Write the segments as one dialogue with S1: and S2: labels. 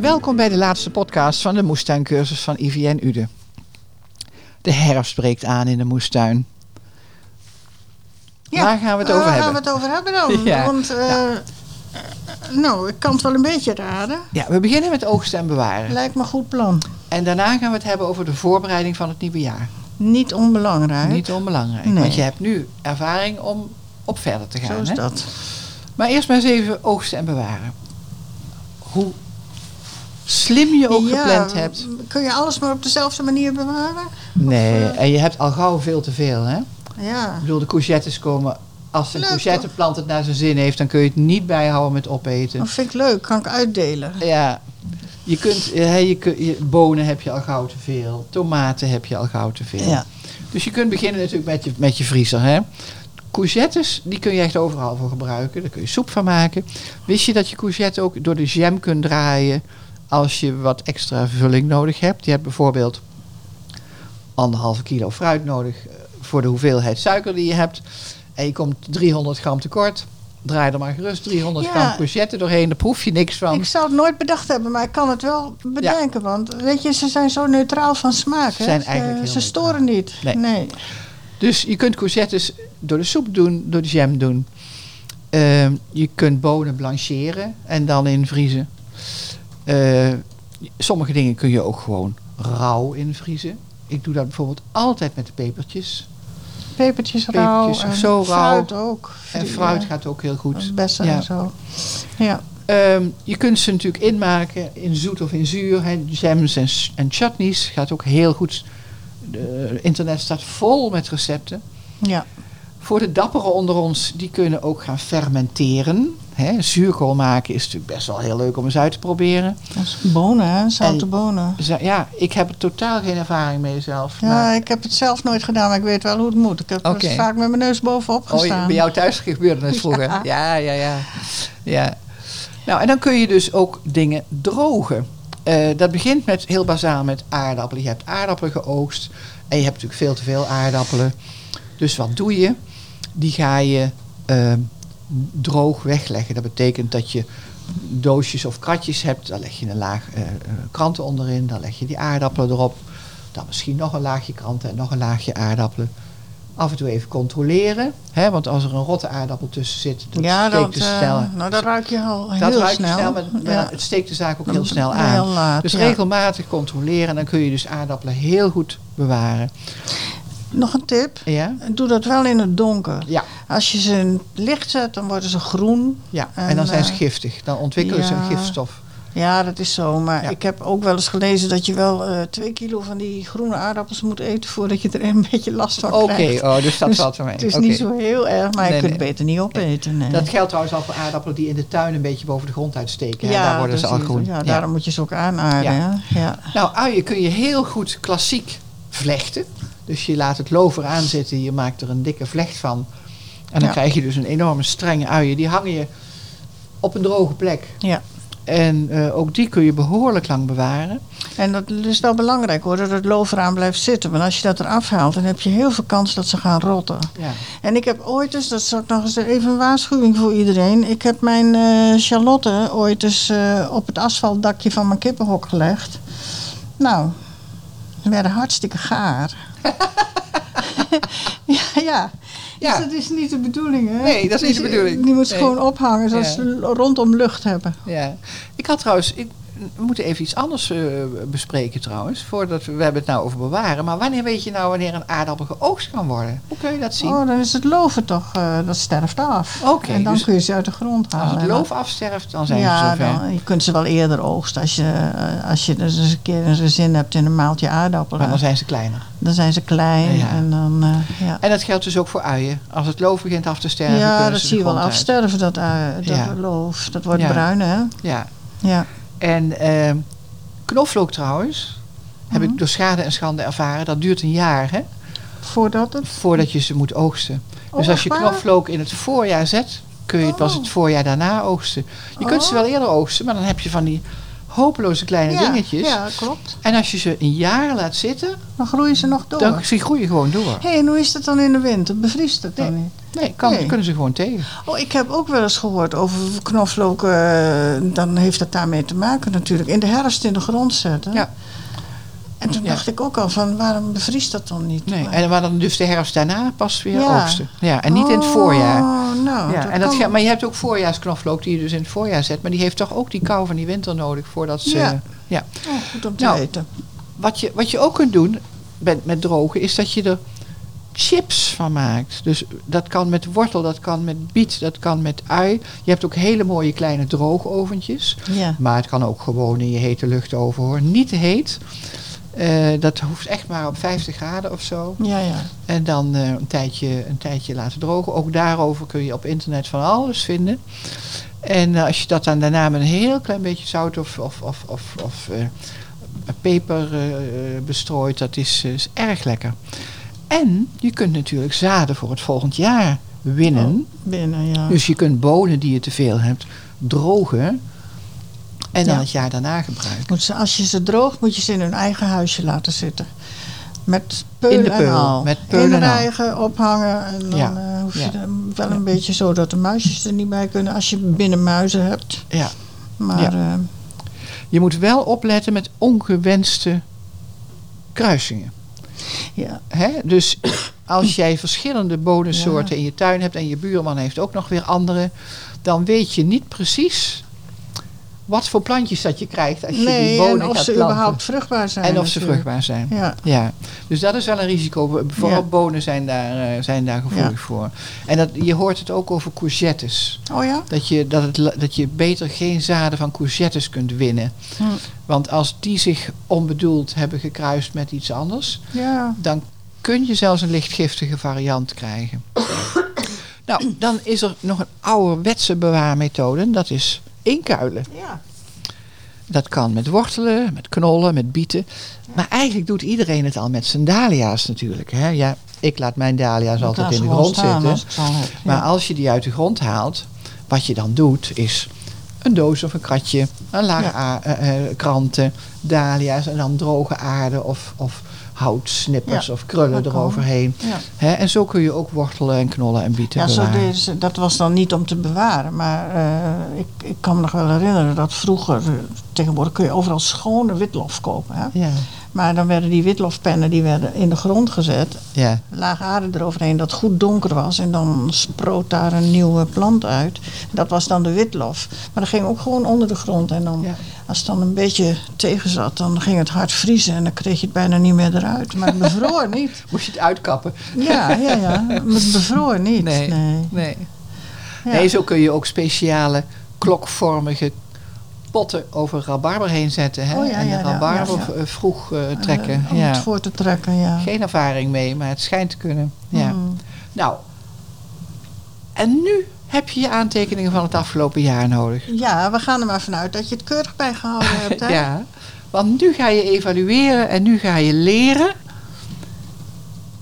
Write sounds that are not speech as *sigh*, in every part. S1: Welkom bij de laatste podcast van de moestuincursus van IVN Ude. De herfst breekt aan in de moestuin. Waar gaan we het
S2: eh,
S1: over hebben?
S2: Waar gaan we het over hebben dan?
S1: *laughs* Ja.
S2: Want, eh, eh, nou, ik kan het wel een beetje raden.
S1: Ja, we beginnen met oogsten en bewaren.
S2: Lijkt me een goed plan.
S1: En daarna gaan we het hebben over de voorbereiding van het nieuwe jaar.
S2: Niet onbelangrijk.
S1: Niet onbelangrijk,
S2: Nee.
S1: want je hebt nu ervaring om op verder te gaan.
S2: Zo is
S1: hè?
S2: dat.
S1: Maar eerst maar eens even oogsten en bewaren. Hoe slim *laughs* je ook
S2: Ja,
S1: gepland hebt.
S2: Kun je alles maar op dezelfde manier bewaren?
S1: Nee,
S2: Of, eh,
S1: en je hebt al gauw veel te veel, hè?
S2: Ja.
S1: Ik bedoel, de courgettes komen... Als een
S2: Leuk,
S1: courgetteplant het naar zijn zin heeft... dan kun je het niet bijhouden met opeten.
S2: Dat vind ik leuk. Kan ik uitdelen.
S1: Ja, je kunt... eh, je, kun- je- bonen heb je al gauw te veel. Tomaten heb je al gauw te veel.
S2: Ja.
S1: Dus je kunt beginnen natuurlijk met je, met je vriezer, hè? Courgettes, die kun je echt overal voor gebruiken. Daar kun je soep van maken. Wist je dat je courgette ook door de jam kunt draaien... als je wat extra vulling nodig hebt? Je hebt bijvoorbeeld anderhalve kilo fruit nodig... eh, voor de hoeveelheid suiker die je hebt. En je komt 300 gram tekort. Draai er maar gerust 300
S2: Ja.
S1: gram courgette doorheen. Daar proef je niks van.
S2: Ik zou het nooit bedacht hebben, maar ik kan het wel bedenken. Want weet je, ze zijn zo neutraal van smaak.
S1: Ze
S2: hè?
S1: zijn
S2: Ze-
S1: eigenlijk heel
S2: Ze
S1: neutraal.
S2: storen niet.
S1: Nee. Dus je kunt courgettes door de soep doen, door de jam doen. Ehm, je kunt bonen blancheren en dan invriezen. Eh, sommige dingen kun je ook gewoon rauw invriezen. Ik doe dat bijvoorbeeld altijd met de pepertjes.
S2: Pepertjes rauw.
S1: Pepertjes,
S2: en
S1: zo rauw.
S2: Fruit ook.
S1: En fruit gaat ook heel goed.
S2: Bessen
S1: Ja.
S2: en zo. Ja.
S1: Ehm, je kunt ze natuurlijk inmaken in zoet of in zuur. Hè, jams en, s- en chutneys gaat ook heel goed. De internet staat vol met recepten.
S2: Ja.
S1: Voor de dapperen onder ons, die kunnen ook gaan fermenteren. Hè, zuurkool maken is natuurlijk best wel heel leuk om eens uit te proberen.
S2: Dat is bonen, hè? Zoute
S1: En-
S2: bonen.
S1: Dus, eh, ja, ik heb er totaal geen ervaring mee zelf.
S2: Ja,
S1: maar,
S2: ik heb het zelf nooit gedaan, maar ik weet wel hoe het moet. Ik heb er
S1: Oké.
S2: vaak met mijn neus bovenop
S1: oh, je-
S2: gestaan.
S1: bij jou thuis gebeurde het vroeger. Ja. ja,
S2: Ja.
S1: ja, ja, Nou, en dan kun je dus ook dingen drogen. Eh, dat begint met heel bazaal met aardappelen. Je hebt aardappelen geoogst en je hebt natuurlijk veel te veel aardappelen. Dus wat doe je? Die ga je eh, droog wegleggen. Dat betekent dat je doosjes of kratjes hebt. Daar leg je een laag eh, eh, kranten onderin. Dan leg je die aardappelen erop. Dan misschien nog een laagje kranten en nog een laagje aardappelen. Af en toe even controleren. Hè, want als er een rotte aardappel tussen zit, dan
S2: ja,
S1: steekt
S2: dat,
S1: de
S2: eh,
S1: snel.
S2: nou, dat ruik je al
S1: dat
S2: heel
S1: ruikt
S2: snel.
S1: snel, maar, maar
S2: ja.
S1: het steekt de zaak ook
S2: Dan-
S1: heel snel aan.
S2: Heel laat,
S1: dus
S2: ja.
S1: regelmatig controleren. En dan kun je dus aardappelen heel goed bewaren.
S2: Nog een tip.
S1: Ja?
S2: Doe dat wel in het donker.
S1: Ja.
S2: Als je ze in het licht zet, dan worden ze groen.
S1: Ja, en,
S2: En,
S1: dan zijn
S2: eh,
S1: ze giftig. Dan ontwikkelen ze een
S2: ja.
S1: gifstof.
S2: Ja, dat is zo. Maar
S1: Ja.
S2: ik heb ook wel eens gelezen dat je wel eh, twee kilo van die groene aardappels moet eten voordat je er een *laughs* beetje last van
S1: Oké,
S2: krijgt.
S1: oh, dus dat
S2: Dus
S1: valt er mee.
S2: Het is
S1: Oké.
S2: niet zo heel erg, maar
S1: Nee,
S2: je kunt
S1: nee.
S2: beter niet opeten. Nee.
S1: Dat geldt trouwens al voor aardappelen die in de tuin een beetje boven de grond uitsteken. hè. daar worden ze
S2: dus
S1: al
S2: die-
S1: groen.
S2: Ja,
S1: Ja.
S2: daarom moet je ze ook aanaarden.
S1: Ja.
S2: hè? Ja.
S1: Nou, uien kun je heel goed klassiek vlechten. Dus je laat het lover aanzitten, je maakt er een dikke vlecht van. En dan
S2: Ja.
S1: krijg je dus een enorme strenge uien. Die hangen je op een droge plek.
S2: Ja.
S1: En eh, ook die kun je behoorlijk lang bewaren.
S2: En dat is wel belangrijk hoor, dat het lover aan blijft zitten. Want als je dat eraf haalt, dan heb je heel veel kans dat ze gaan rotten.
S1: Ja.
S2: En ik heb ooit eens, dat zou ik nog eens even een waarschuwing voor iedereen. Ik heb mijn eh, Charlotte ooit eens eh, op het asfaltdakje van mijn kippenhok gelegd. Nou, ze werden hartstikke
S1: *laughs*
S2: gaar. ja, ja.
S1: Ja.
S2: Dus dat is niet de bedoeling, hè?
S1: Nee, dat is niet de
S2: Dus, eh,
S1: bedoeling.
S2: Die moet ze
S1: Nee.
S2: gewoon ophangen, zodat
S1: Ja.
S2: ze rondom lucht hebben.
S1: Ja, ik had trouwens, ik, we moeten even iets anders eh, bespreken trouwens, voordat we, we hebben het nou over bewaren. Maar wanneer weet je nou wanneer een aardappel geoogst kan worden? Hoe kun je dat zien?
S2: Oh, dan is het loven toch, eh, dat sterft af.
S1: Oké,
S2: en dan
S1: dus
S2: kun je ze uit de grond halen.
S1: Als het
S2: En dan-
S1: loof afsterft, dan zijn ze
S2: ja,
S1: zover.
S2: dan, je kunt ze wel eerder oogsten. Als je, eh, als je dus eens een keer eens een zin hebt in een maaltje
S1: Maar
S2: aardappelen,
S1: dan zijn ze kleiner.
S2: dan zijn ze klein.
S1: Ja.
S2: En dan, eh, ja.
S1: En dat geldt dus ook voor uien. Als het loof begint af te sterven,
S2: ja,
S1: kunnen
S2: dat
S1: ze de
S2: zie je wel
S1: grond uit.
S2: afsterven, dat, ui- dat
S1: Ja.
S2: loof. Dat wordt
S1: Ja.
S2: bruin, hè?
S1: Ja.
S2: Ja.
S1: En ehm, knoflook trouwens, heb
S2: Mhm.
S1: ik door schade en schande ervaren, dat duurt een jaar hè,
S2: Voordat het...
S1: voordat je ze moet oogsten.
S2: Oh,
S1: Dus als
S2: echt
S1: je
S2: waar?
S1: knoflook in het voorjaar zet, kun je het pas
S2: Oh.
S1: het voorjaar daarna oogsten. Je kunt ze
S2: Oh.
S1: wel eerder oogsten, maar dan heb je van die hopeloze kleine
S2: ja,
S1: dingetjes.
S2: Ja, klopt.
S1: En als je ze een jaar laat zitten,
S2: Dan groeien ze nog door.
S1: dan ze groeien gewoon door.
S2: Hé, en hoe is dat dan in de winter? Bevriest het dan
S1: Nee.
S2: niet?
S1: Nee, kan,
S2: Nee.
S1: kunnen ze gewoon tegen.
S2: Oh, ik heb ook wel eens gehoord over knoflook. eh, dan heeft dat daarmee te maken natuurlijk. In de herfst in de grond zetten.
S1: Ja.
S2: En toen
S1: Ja.
S2: dacht ik ook al van waarom bevriest dat dan niet?
S1: Nee.
S2: Maar-
S1: En maar dan dus de herfst daarna pas weer
S2: Ja.
S1: oogsten. Ja, en niet in het
S2: Oh,
S1: voorjaar.
S2: Nou,
S1: Ja,
S2: dat
S1: en dat,
S2: kan.
S1: ge- maar je hebt ook voorjaarsknoflook die je dus in het voorjaar zet. Maar die heeft toch ook die kou van die winter nodig voordat ze...
S2: Ja.
S1: ja.
S2: Oh, goed om te
S1: Nou.
S2: weten.
S1: Wat, je, wat je ook kunt doen met, met drogen is dat je er chips van maakt. Dus dat kan met wortel, dat kan met biet, dat kan met ui. Je hebt ook hele mooie kleine droogoventjes.
S2: Ja.
S1: Maar het kan ook gewoon in je hete lucht over hoor. Niet te heet. Eh, dat hoeft echt maar op 50 graden of zo.
S2: Ja, ja.
S1: En dan eh, een, tijdje, een tijdje laten drogen. Ook daarover kun je op internet van alles vinden. En eh, als je dat dan daarna met een heel klein beetje zout of, of, of, of, of eh, peper eh, bestrooit, dat is, eh, is erg lekker. En je kunt natuurlijk zaden voor het volgend jaar winnen.
S2: Binnen, ja.
S1: Dus je kunt bonen die je te veel hebt drogen. En dan
S2: Ja.
S1: het jaar daarna gebruiken.
S2: Moet ze, als je ze droog, moet je ze in hun eigen huisje laten zitten. Met peul
S1: In de
S2: en
S1: peul,
S2: al.
S1: met peul
S2: in
S1: en al.
S2: eigen ophangen. En dan
S1: Ja,
S2: eh, hoef je
S1: ja.
S2: er wel een beetje zo dat de muisjes er niet bij kunnen. Als je binnen muizen hebt.
S1: Ja.
S2: Maar eh,
S1: Je moet wel opletten met ongewenste kruisingen.
S2: ja.
S1: Hè? Dus als jij verschillende bonensoorten in je tuin hebt en je buurman heeft ook nog weer andere, dan weet je niet precies wat voor plantjes dat je krijgt als je die
S2: Nee,
S1: bonen
S2: en of
S1: gaat
S2: ze
S1: planten.
S2: überhaupt vruchtbaar zijn.
S1: en of ze
S2: natuurlijk.
S1: vruchtbaar zijn.
S2: Ja.
S1: Ja, dus dat is wel een risico. Vooral
S2: Ja.
S1: bonen zijn daar, eh, zijn daar gevoelig
S2: Ja.
S1: voor. En dat, je hoort het ook over courgettes.
S2: Oh ja?
S1: Dat je, dat, het, la- dat je beter geen zaden van courgettes kunt winnen.
S2: Hm.
S1: Want als die zich onbedoeld hebben gekruist met iets anders,
S2: Ja.
S1: dan kun je zelfs een lichtgiftige variant krijgen. nou, dan is er nog een ouderwetse bewaarmethode. en Dat is inkuilen.
S2: Ja.
S1: Dat kan met wortelen, met knollen, met bieten. Maar eigenlijk doet iedereen het al met zijn dahlia's natuurlijk. Hè? Ja, ik laat mijn dahlia's altijd in de grond zitten. Maar
S2: Maar
S1: als je die uit de grond haalt, wat je dan doet is een doos of een kratje, een laag
S2: Ja.
S1: a- eh, eh, kranten, dahlia's en dan droge aarde of, of houtsnippers
S2: Ja,
S1: of krullen
S2: dat kan.
S1: eroverheen.
S2: ja.
S1: Hè, en zo kun je ook wortelen en knollen en bieten
S2: Ja, zo dus.
S1: bewaren.
S2: deden ze- dat was dan niet om te bewaren. Maar eh, ik, ik kan me nog wel herinneren dat vroeger, eh, tegenwoordig kun je overal schone witlof kopen. Hè?
S1: Ja,
S2: Maar dan werden die witlofpennen die werden in de grond gezet,
S1: ja,
S2: laag aarde eroverheen, dat goed donker was. En dan sproot daar een nieuwe plant uit. Dat was dan de witlof. Maar dat ging ook gewoon onder de grond. En dan,
S1: Ja.
S2: als het dan een beetje tegen zat, dan ging het hard vriezen. En dan kreeg je het bijna niet meer eruit. Maar het bevroor
S1: *laughs*
S2: niet.
S1: Moest je het uitkappen?
S2: Ja, ja, ja. Maar het bevroor niet.
S1: Nee.
S2: nee.
S1: Nee.
S2: Ja.
S1: Nee, zo kun je ook speciale klokvormige potten over rabarber heen zetten. Hè?
S2: Oh, ja,
S1: en de
S2: ja, ja,
S1: rabarber
S2: ja,
S1: eh, vroeg eh,
S2: Eh,
S1: trekken.
S2: om
S1: ja.
S2: het voor te trekken, ja.
S1: Geen ervaring mee, maar het schijnt te kunnen. Ja.
S2: Mm.
S1: Nou, en nu heb je je aantekeningen van het afgelopen jaar nodig.
S2: Ja, we gaan er maar vanuit dat je het keurig bijgehouden hebt. Hè?
S1: Ah, *laughs* Ja, want nu ga je evalueren en nu ga je leren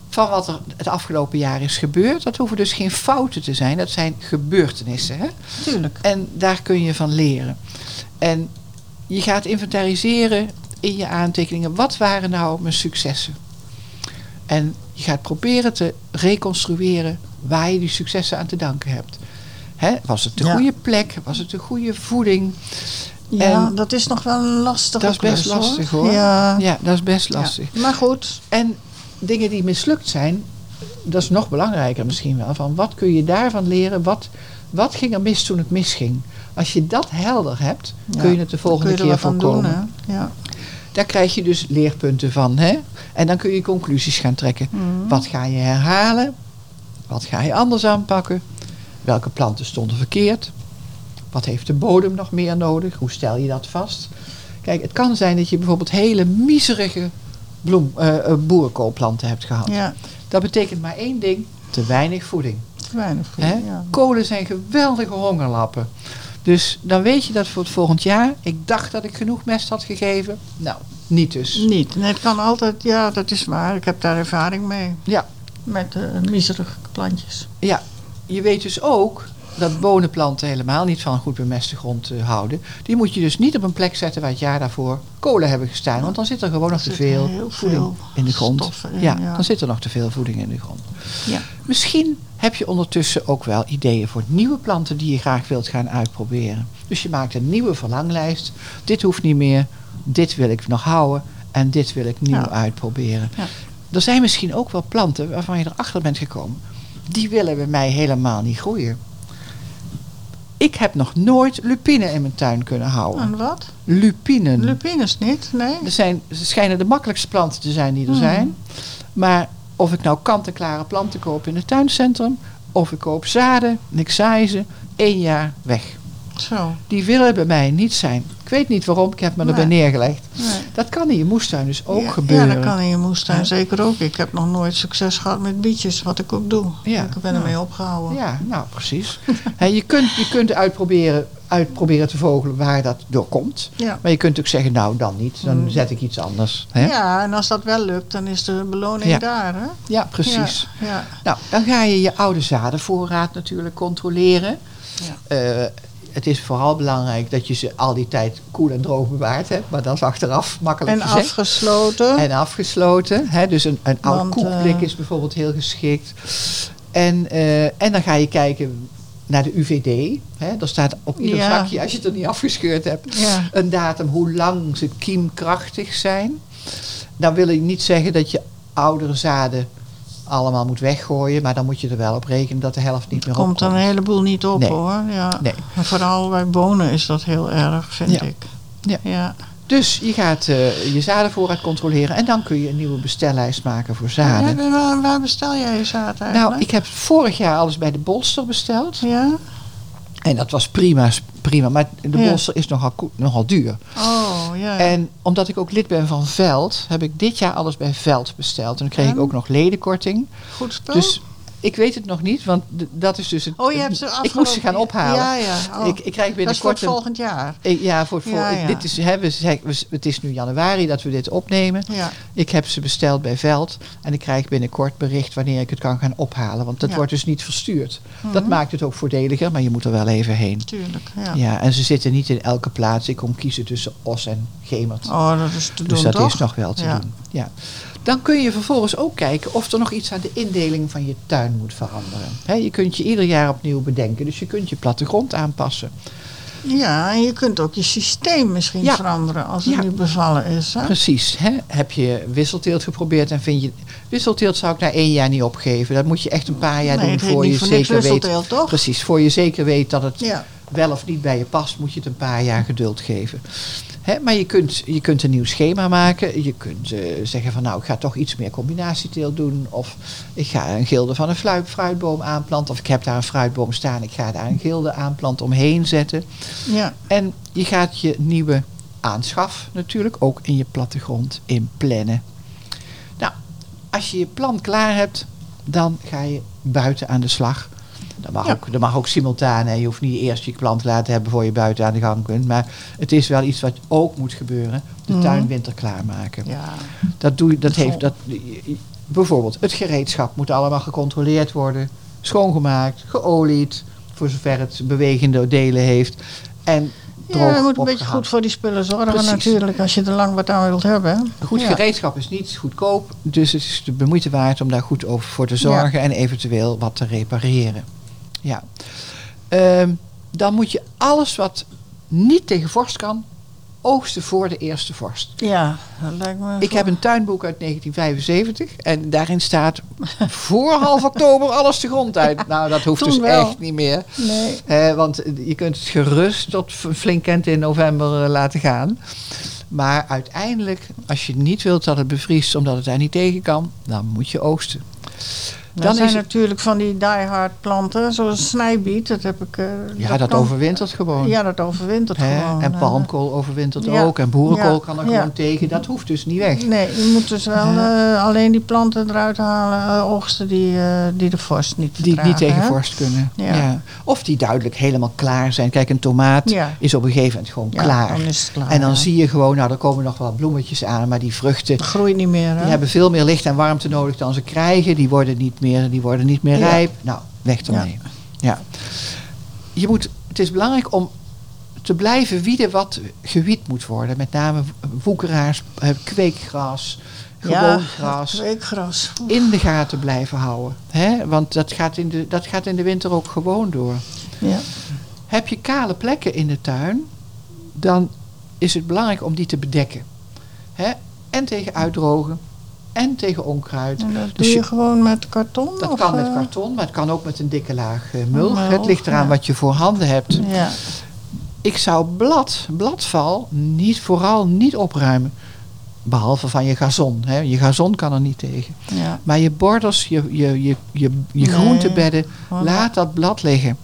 S1: van wat er het afgelopen jaar is gebeurd. Dat hoeven dus geen fouten te zijn, dat zijn gebeurtenissen. Hè?
S2: Tuurlijk.
S1: En daar kun je van leren. En je gaat inventariseren in je aantekeningen. Wat waren nou mijn successen? En je gaat proberen te reconstrueren waar je die successen aan te danken hebt. Hè? Was het de
S2: Ja.
S1: goede plek? Was het de goede voeding?
S2: Ja,
S1: En-
S2: dat is nog wel een lastige
S1: Ehm, Dat is best
S2: klus,
S1: lastig, hoor.
S2: Ja.
S1: Ja, dat is best lastig.
S2: Ja. Maar goed,
S1: En dingen die mislukt zijn, dat is nog belangrijker misschien wel. Van wat kun je daarvan leren? Wat, wat ging er mis toen het misging? Als je dat helder hebt,
S2: Ja,
S1: kun je het de volgende
S2: kun je er
S1: keer
S2: wat aan
S1: voorkomen.
S2: Doen, hè? ja.
S1: Daar krijg je dus leerpunten van. Hè? En dan kun je conclusies gaan trekken.
S2: Mhm.
S1: Wat ga je herhalen? Wat ga je anders aanpakken? Welke planten stonden verkeerd? Wat heeft de bodem nog meer nodig? Hoe stel je dat vast? Kijk, het kan zijn dat je bijvoorbeeld hele miserige bloem, eh, eh, boerenkoolplanten hebt gehad.
S2: ja,
S1: Dat betekent maar één ding, te weinig voeding.
S2: te weinig voor.
S1: Hè?
S2: Ja.
S1: Kolen zijn geweldige hongerlappen. Dus dan weet je dat voor het volgend jaar. Ik dacht dat ik genoeg mest had gegeven. Nou, niet dus.
S2: Niet. Nee, het kan altijd, ja, dat is waar. Ik heb daar ervaring mee.
S1: Ja.
S2: Met eh miserige plantjes.
S1: Ja, je weet dus ook dat bonenplanten helemaal niet van een goed bemeste grond eh, houden. Die moet je dus niet op een plek zetten waar het jaar daarvoor kolen hebben gestaan. Want dan zit er gewoon nog te
S2: zit
S1: veel
S2: heel
S1: voeding
S2: veel
S1: in de grond.
S2: stoffen in,
S1: ja,
S2: ja.
S1: dan zit er nog te veel voeding in de grond.
S2: Ja.
S1: Misschien heb je ondertussen ook wel ideeën voor nieuwe planten die je graag wilt gaan uitproberen. Dus je maakt een nieuwe verlanglijst. Dit hoeft niet meer, dit wil ik nog houden en dit wil ik nieuw
S2: Ja.
S1: uitproberen.
S2: Ja.
S1: Er zijn misschien ook wel planten waarvan je erachter bent gekomen. Die willen bij mij helemaal niet groeien. Ik heb nog nooit lupine in mijn tuin kunnen houden.
S2: En wat?
S1: Lupinen.
S2: Lupines niet, nee.
S1: Er zijn, ze schijnen de makkelijkste planten te zijn die er
S2: Mhm.
S1: zijn. Maar of ik nou kant-en-klare planten koop in het tuincentrum... of ik koop zaden en ik zaai ze, één jaar weg.
S2: Zo.
S1: Die willen bij mij niet zijn. Ik weet niet waarom, ik heb me erbij
S2: Nee.
S1: neergelegd.
S2: Nee.
S1: Dat kan in je moestuin dus ook
S2: ja,
S1: gebeuren.
S2: Ja, dat kan in je moestuin
S1: Ja.
S2: zeker ook. Ik heb nog nooit succes gehad met bietjes, wat ik ook doe.
S1: Ja.
S2: Ik ben
S1: Ja.
S2: ermee opgehouden.
S1: Ja, nou precies. *laughs* Hè, je kunt, je kunt uitproberen, uitproberen te vogelen waar dat door komt.
S2: Ja.
S1: Maar je kunt ook zeggen, nou dan niet, dan
S2: Hmm.
S1: zet ik iets anders. Hè?
S2: Ja, en als dat wel lukt, dan is de beloning
S1: Ja.
S2: daar, hè?
S1: Ja, precies.
S2: Ja, ja.
S1: Nou, dan ga je je oude zadenvoorraad natuurlijk controleren.
S2: Ja.
S1: Eh, het is vooral belangrijk dat je ze al die tijd koel en droog bewaard hebt. Maar dat is achteraf makkelijk
S2: En
S1: gezegd.
S2: afgesloten.
S1: En afgesloten. Hè? Dus een, een oud
S2: Want,
S1: koekblik
S2: eh,
S1: is bijvoorbeeld heel geschikt. En, eh, en dan ga je kijken naar de UVD. Hè? Daar staat op ieder
S2: Ja.
S1: vakje, als je het er niet afgescheurd hebt,
S2: Ja.
S1: een datum hoe lang ze kiemkrachtig zijn. Dan wil ik niet zeggen dat je oudere zaden allemaal moet weggooien. Maar dan moet je er wel op rekenen dat de helft niet meer op
S2: Komt er een heleboel niet op
S1: Nee.
S2: hoor. Ja.
S1: Nee.
S2: En vooral bij bonen is dat heel erg, vind
S1: Ja.
S2: ik.
S1: Ja.
S2: ja.
S1: Dus je gaat eh, je zadenvoorraad controleren. En dan kun je een nieuwe bestellijst maken voor zaden.
S2: Ja, waar, waar bestel jij je zaad eigenlijk?
S1: Nou, ik heb vorig jaar alles bij de Bolster besteld.
S2: Ja?
S1: En dat was prima, prima. Maar de
S2: Ja.
S1: bolster is nogal, ko- nogal duur.
S2: Oh, ja.
S1: En omdat ik ook lid ben van Veld, heb ik dit jaar alles bij Veld besteld. En dan kreeg ik
S2: En?
S1: ook nog ledenkorting.
S2: Goed spul?
S1: Dus ik weet het nog niet, want d- dat is dus... Het,
S2: oh, je hebt ze
S1: Ik moest ze
S2: afgelopen-
S1: gaan ophalen.
S2: Ja, ja. Oh.
S1: Ik, ik krijg
S2: dat is voor
S1: binnenkort...
S2: het
S1: een-
S2: volgend jaar.
S1: ik- ja, voor het vol-
S2: Ja, ja.
S1: Dit is, hè, we, zijn- we- het is nu januari dat we dit opnemen.
S2: Ja.
S1: Ik heb ze besteld bij Veld. En ik krijg binnenkort bericht wanneer ik het kan gaan ophalen. Want dat
S2: Ja.
S1: wordt dus niet verstuurd. Dat
S2: Mhm.
S1: maakt het ook voordeliger, maar je moet er wel even heen.
S2: Tuurlijk, ja.
S1: Ja, en ze zitten niet in elke plaats. Ik kon kiezen tussen Os en Gemert.
S2: Oh, dat is te doen,
S1: dus dat
S2: toch?
S1: is nog wel te
S2: Ja.
S1: doen. Ja. Dan kun je vervolgens ook kijken of er nog iets aan de indeling van je tuin moet veranderen. Hè, je kunt je ieder jaar opnieuw bedenken. Dus je kunt je plattegrond aanpassen.
S2: Ja, en je kunt ook je systeem misschien
S1: Ja.
S2: veranderen als het
S1: Ja.
S2: niet bevallen is. Hè?
S1: Precies. Hè? Heb je wisselteelt geprobeerd en vind je... Wisselteelt zou ik na één jaar niet opgeven. Dat moet je echt een paar jaar
S2: nee,
S1: doen
S2: het heet
S1: voor je
S2: niet voor niks
S1: zeker weet...
S2: wisselteel, toch?
S1: Precies, voor je zeker weet dat het
S2: Ja.
S1: wel of niet bij je past, moet je het een paar jaar geduld geven. Hè, maar je kunt, je kunt een nieuw schema maken. Je kunt eh, zeggen van nou, ik ga toch iets meer combinatieteelt doen. Of ik ga een gilde van een fluit- fruitboom aanplanten. Of ik heb daar een fruitboom staan, ik ga daar een gilde aanplanten omheen zetten.
S2: ja.
S1: En je gaat je nieuwe aanschaf natuurlijk ook in je plattegrond in plannen. Nou, als je je plan klaar hebt, dan ga je buiten aan de slag. Dat mag,
S2: Ja.
S1: ook, dat mag ook simultaan. Hè. Je hoeft niet eerst je plan te laten hebben voor je buiten aan de gang kunt. Maar het is wel iets wat ook moet gebeuren. De
S2: Mhm.
S1: tuin winter klaarmaken.
S2: ja.
S1: Dat doe je, dat heeft,
S2: Vol.
S1: dat, bijvoorbeeld, het gereedschap moet allemaal gecontroleerd worden, schoongemaakt, geolied, voor zover het bewegende delen heeft. En droog
S2: Ja, je moet een beetje
S1: opgehaald.
S2: goed voor die spullen zorgen
S1: Precies.
S2: natuurlijk, als je er lang wat aan wilt hebben.
S1: Goed
S2: Ja.
S1: gereedschap is niet goedkoop, dus het is de bemoeite waard om daar goed over voor te zorgen en eventueel wat te repareren. Ja. Ehm, dan moet je alles wat niet tegen vorst kan, oogsten voor de eerste vorst.
S2: Ja, dat lijkt me...
S1: Ik
S2: voor-
S1: heb een tuinboek uit 1975 en daarin staat voor half oktober alles de grond uit. Nou, dat hoeft
S2: Toen
S1: dus
S2: wel.
S1: echt niet meer.
S2: Nee.
S1: hè, want je kunt het gerust tot f- flink eind in november eh, laten gaan. Maar uiteindelijk, als je niet wilt dat het bevriest omdat het daar niet tegen kan, dan moet je oogsten.
S2: Dan,
S1: Dan
S2: zijn
S1: is het-
S2: natuurlijk van die diehard planten, zoals snijbiet, dat heb ik... eh,
S1: Ja, dat,
S2: kan-
S1: overwintert gewoon.
S2: Ja, dat overwintert
S1: hè.
S2: gewoon.
S1: en
S2: eh.
S1: palmkool overwintert
S2: Ja.
S1: ook. En boerenkool
S2: Ja.
S1: kan er
S2: Ja.
S1: gewoon tegen. Dat hoeft dus niet weg.
S2: Nee, je moet dus wel eh, alleen die planten eruit halen, eh, oogsten die, eh, die de vorst niet
S1: Die niet
S2: verdragen,
S1: tegen
S2: hè?
S1: vorst kunnen. Ja.
S2: Ja.
S1: Of die duidelijk helemaal klaar zijn. Kijk, een tomaat
S2: Ja.
S1: is op een gegeven moment gewoon
S2: Ja,
S1: klaar.
S2: dan is het klaar.
S1: En dan
S2: ja.
S1: zie je gewoon, nou, er komen nog wel bloemetjes aan, maar die vruchten.
S2: Het groeit niet meer, hè?
S1: Die hebben veel meer licht en warmte nodig dan ze krijgen. Die worden niet meer, die worden niet meer
S2: Ja.
S1: rijp. Nou, weg
S2: Ja.
S1: ermee. Ja. Je moet, het is belangrijk om te blijven wieden wat gewied moet worden. Met name woekeraars, eh, kweekgras, gewoon
S2: ja,
S1: gras
S2: Kweekgras.
S1: in de gaten blijven houden. Hè? Want dat gaat, in de, dat gaat in de winter ook gewoon door.
S2: Ja.
S1: Heb je kale plekken in de tuin, dan is het belangrijk om die te bedekken. Hè? En tegen uitdrogen en tegen onkruid.
S2: En dat
S1: Dus
S2: doe je
S1: je-
S2: gewoon met karton?
S1: Dat
S2: of,
S1: kan met
S2: eh,
S1: karton, maar het kan ook met een dikke laag eh, mulch.
S2: Mulch,
S1: het ligt eraan
S2: ja.
S1: wat je voor handen hebt.
S2: Ja.
S1: Ik zou blad, bladval niet, vooral niet opruimen. Behalve van je gazon. Hè. Je gazon kan er niet tegen.
S2: ja.
S1: Maar je borders, je, je, je, je, je
S2: Nee.
S1: groentebedden,
S2: Gewoon
S1: laat dat blad liggen.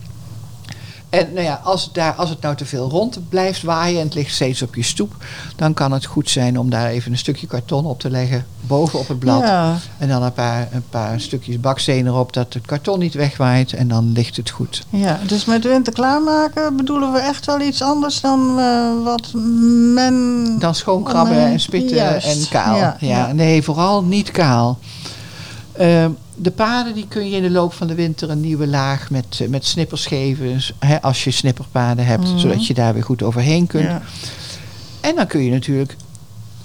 S1: En nou ja, als, het daar, als het nou te veel rond blijft waaien en het ligt steeds op je stoep, dan kan het goed zijn om daar even een stukje karton op te leggen boven op het blad.
S2: Ja.
S1: En dan een paar, een paar stukjes baksteen erop dat het karton niet wegwaait en dan ligt het goed.
S2: ja, dus met winter klaarmaken bedoelen we echt wel iets anders dan eh, wat men...
S1: Dan schoonkrabben
S2: Oh, Nee,
S1: en spitten
S2: juist.
S1: en kaal.
S2: Ja,
S1: Ja,
S2: ja.
S1: Nee, vooral niet kaal. Ehm, de paden die kun je in de loop van de winter een nieuwe laag met, eh, met snippers geven. dus, hè, als je snipperpaden hebt,
S2: Mhm.
S1: zodat je daar weer goed overheen kunt.
S2: Ja.
S1: En dan kun je natuurlijk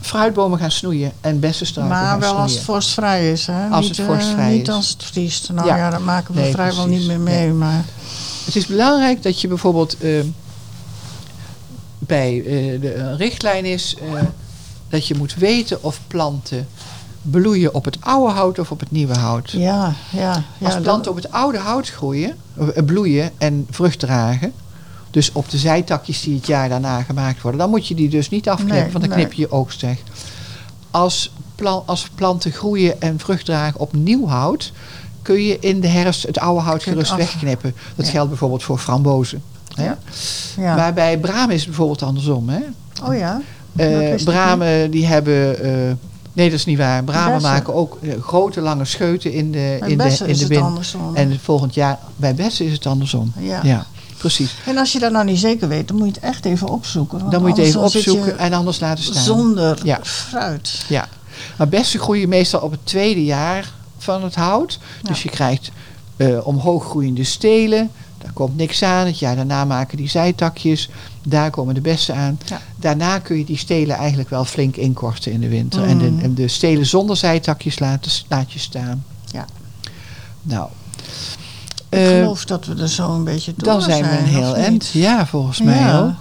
S1: fruitbomen gaan snoeien en bessenstruiken
S2: Maar
S1: gaan
S2: wel
S1: snoeien.
S2: als het vorstvrij is, hè?
S1: Als
S2: niet,
S1: het
S2: eh,
S1: vorstvrij
S2: niet
S1: is.
S2: als het vriest. Nou ja,
S1: Ja.
S2: dat maken we
S1: Nee,
S2: vrijwel
S1: precies.
S2: niet meer mee, maar...
S1: Het is belangrijk dat je bijvoorbeeld eh, bij eh, de, een richtlijn is eh, dat je moet weten of planten bloeien op het oude hout of op het nieuwe hout.
S2: Ja, ja. ja
S1: Als planten op het oude hout groeien, eh, bloeien en vrucht dragen, dus op de zijtakjes die het jaar daarna gemaakt worden, dan moet je die dus niet afknippen,
S2: Nee,
S1: want dan
S2: nee.
S1: knip je je oogst weg. Als, plan- als planten groeien en vrucht dragen op nieuw hout, kun je in de herfst het oude hout
S2: Kun je het
S1: gerust
S2: af-
S1: wegknippen. Dat
S2: Ja.
S1: geldt bijvoorbeeld voor frambozen. Hè?
S2: Ja. ja.
S1: Maar bij bramen is het bijvoorbeeld andersom. Hè?
S2: oh ja? Dat
S1: Eh,
S2: wist ik
S1: bramen die hebben. eh, nee, dat is niet waar. Bramen
S2: Bessen.
S1: maken ook eh, grote lange scheuten in de,
S2: Bij
S1: in de,
S2: bessen
S1: in
S2: is
S1: de
S2: het
S1: bin.
S2: andersom.
S1: Oh. En het volgend jaar bij bessen is het andersom.
S2: Ja.
S1: precies.
S2: En als je dat nou niet zeker weet, dan moet je het echt even opzoeken. want
S1: Dan moet je het even
S2: anders dan zit
S1: opzoeken en anders laten
S2: je
S1: staan.
S2: Zonder
S1: Ja.
S2: fruit.
S1: Ja. Maar bessen groeien meestal op het tweede jaar van het hout. Dus je krijgt eh, omhoog groeiende stelen. Daar komt niks aan. Het jaar daarna maken die zijtakjes. Daar komen de bessen aan.
S2: Ja.
S1: Daarna kun je die stelen eigenlijk wel flink inkorten in de winter. En,
S2: Mhm.
S1: de, en de stelen zonder zijtakjes laten, laat je staan.
S2: Ja.
S1: Nou.
S2: Ik
S1: Eh,
S2: geloof dat we er zo een beetje door
S1: dan zijn we een heel
S2: of niet?
S1: eind. Ja, volgens mij
S2: Ja.
S1: ook.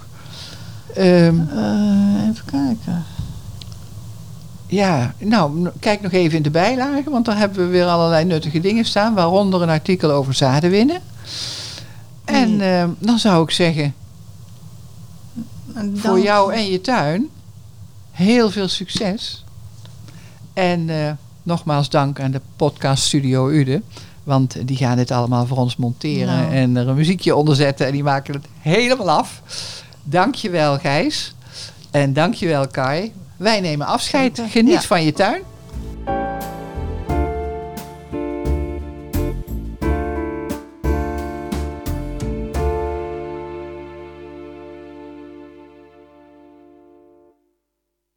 S1: Ehm,
S2: Eh, even kijken.
S1: Ja, nou, n- kijk nog even in de bijlagen, want daar hebben we weer allerlei nuttige dingen staan, waaronder een artikel over zaden winnen. En eh, dan zou ik zeggen,
S2: En dan-
S1: voor jou en je tuin, heel veel succes. En eh, nogmaals dank aan de podcast Studio Ude, want die gaan dit allemaal voor ons monteren
S2: Nou.
S1: en er een muziekje onder zetten en die maken het helemaal af. Dankjewel Gijs en dankjewel Kai. Wij nemen afscheid.
S2: Zeker,
S1: Geniet
S2: ja.
S1: van je tuin.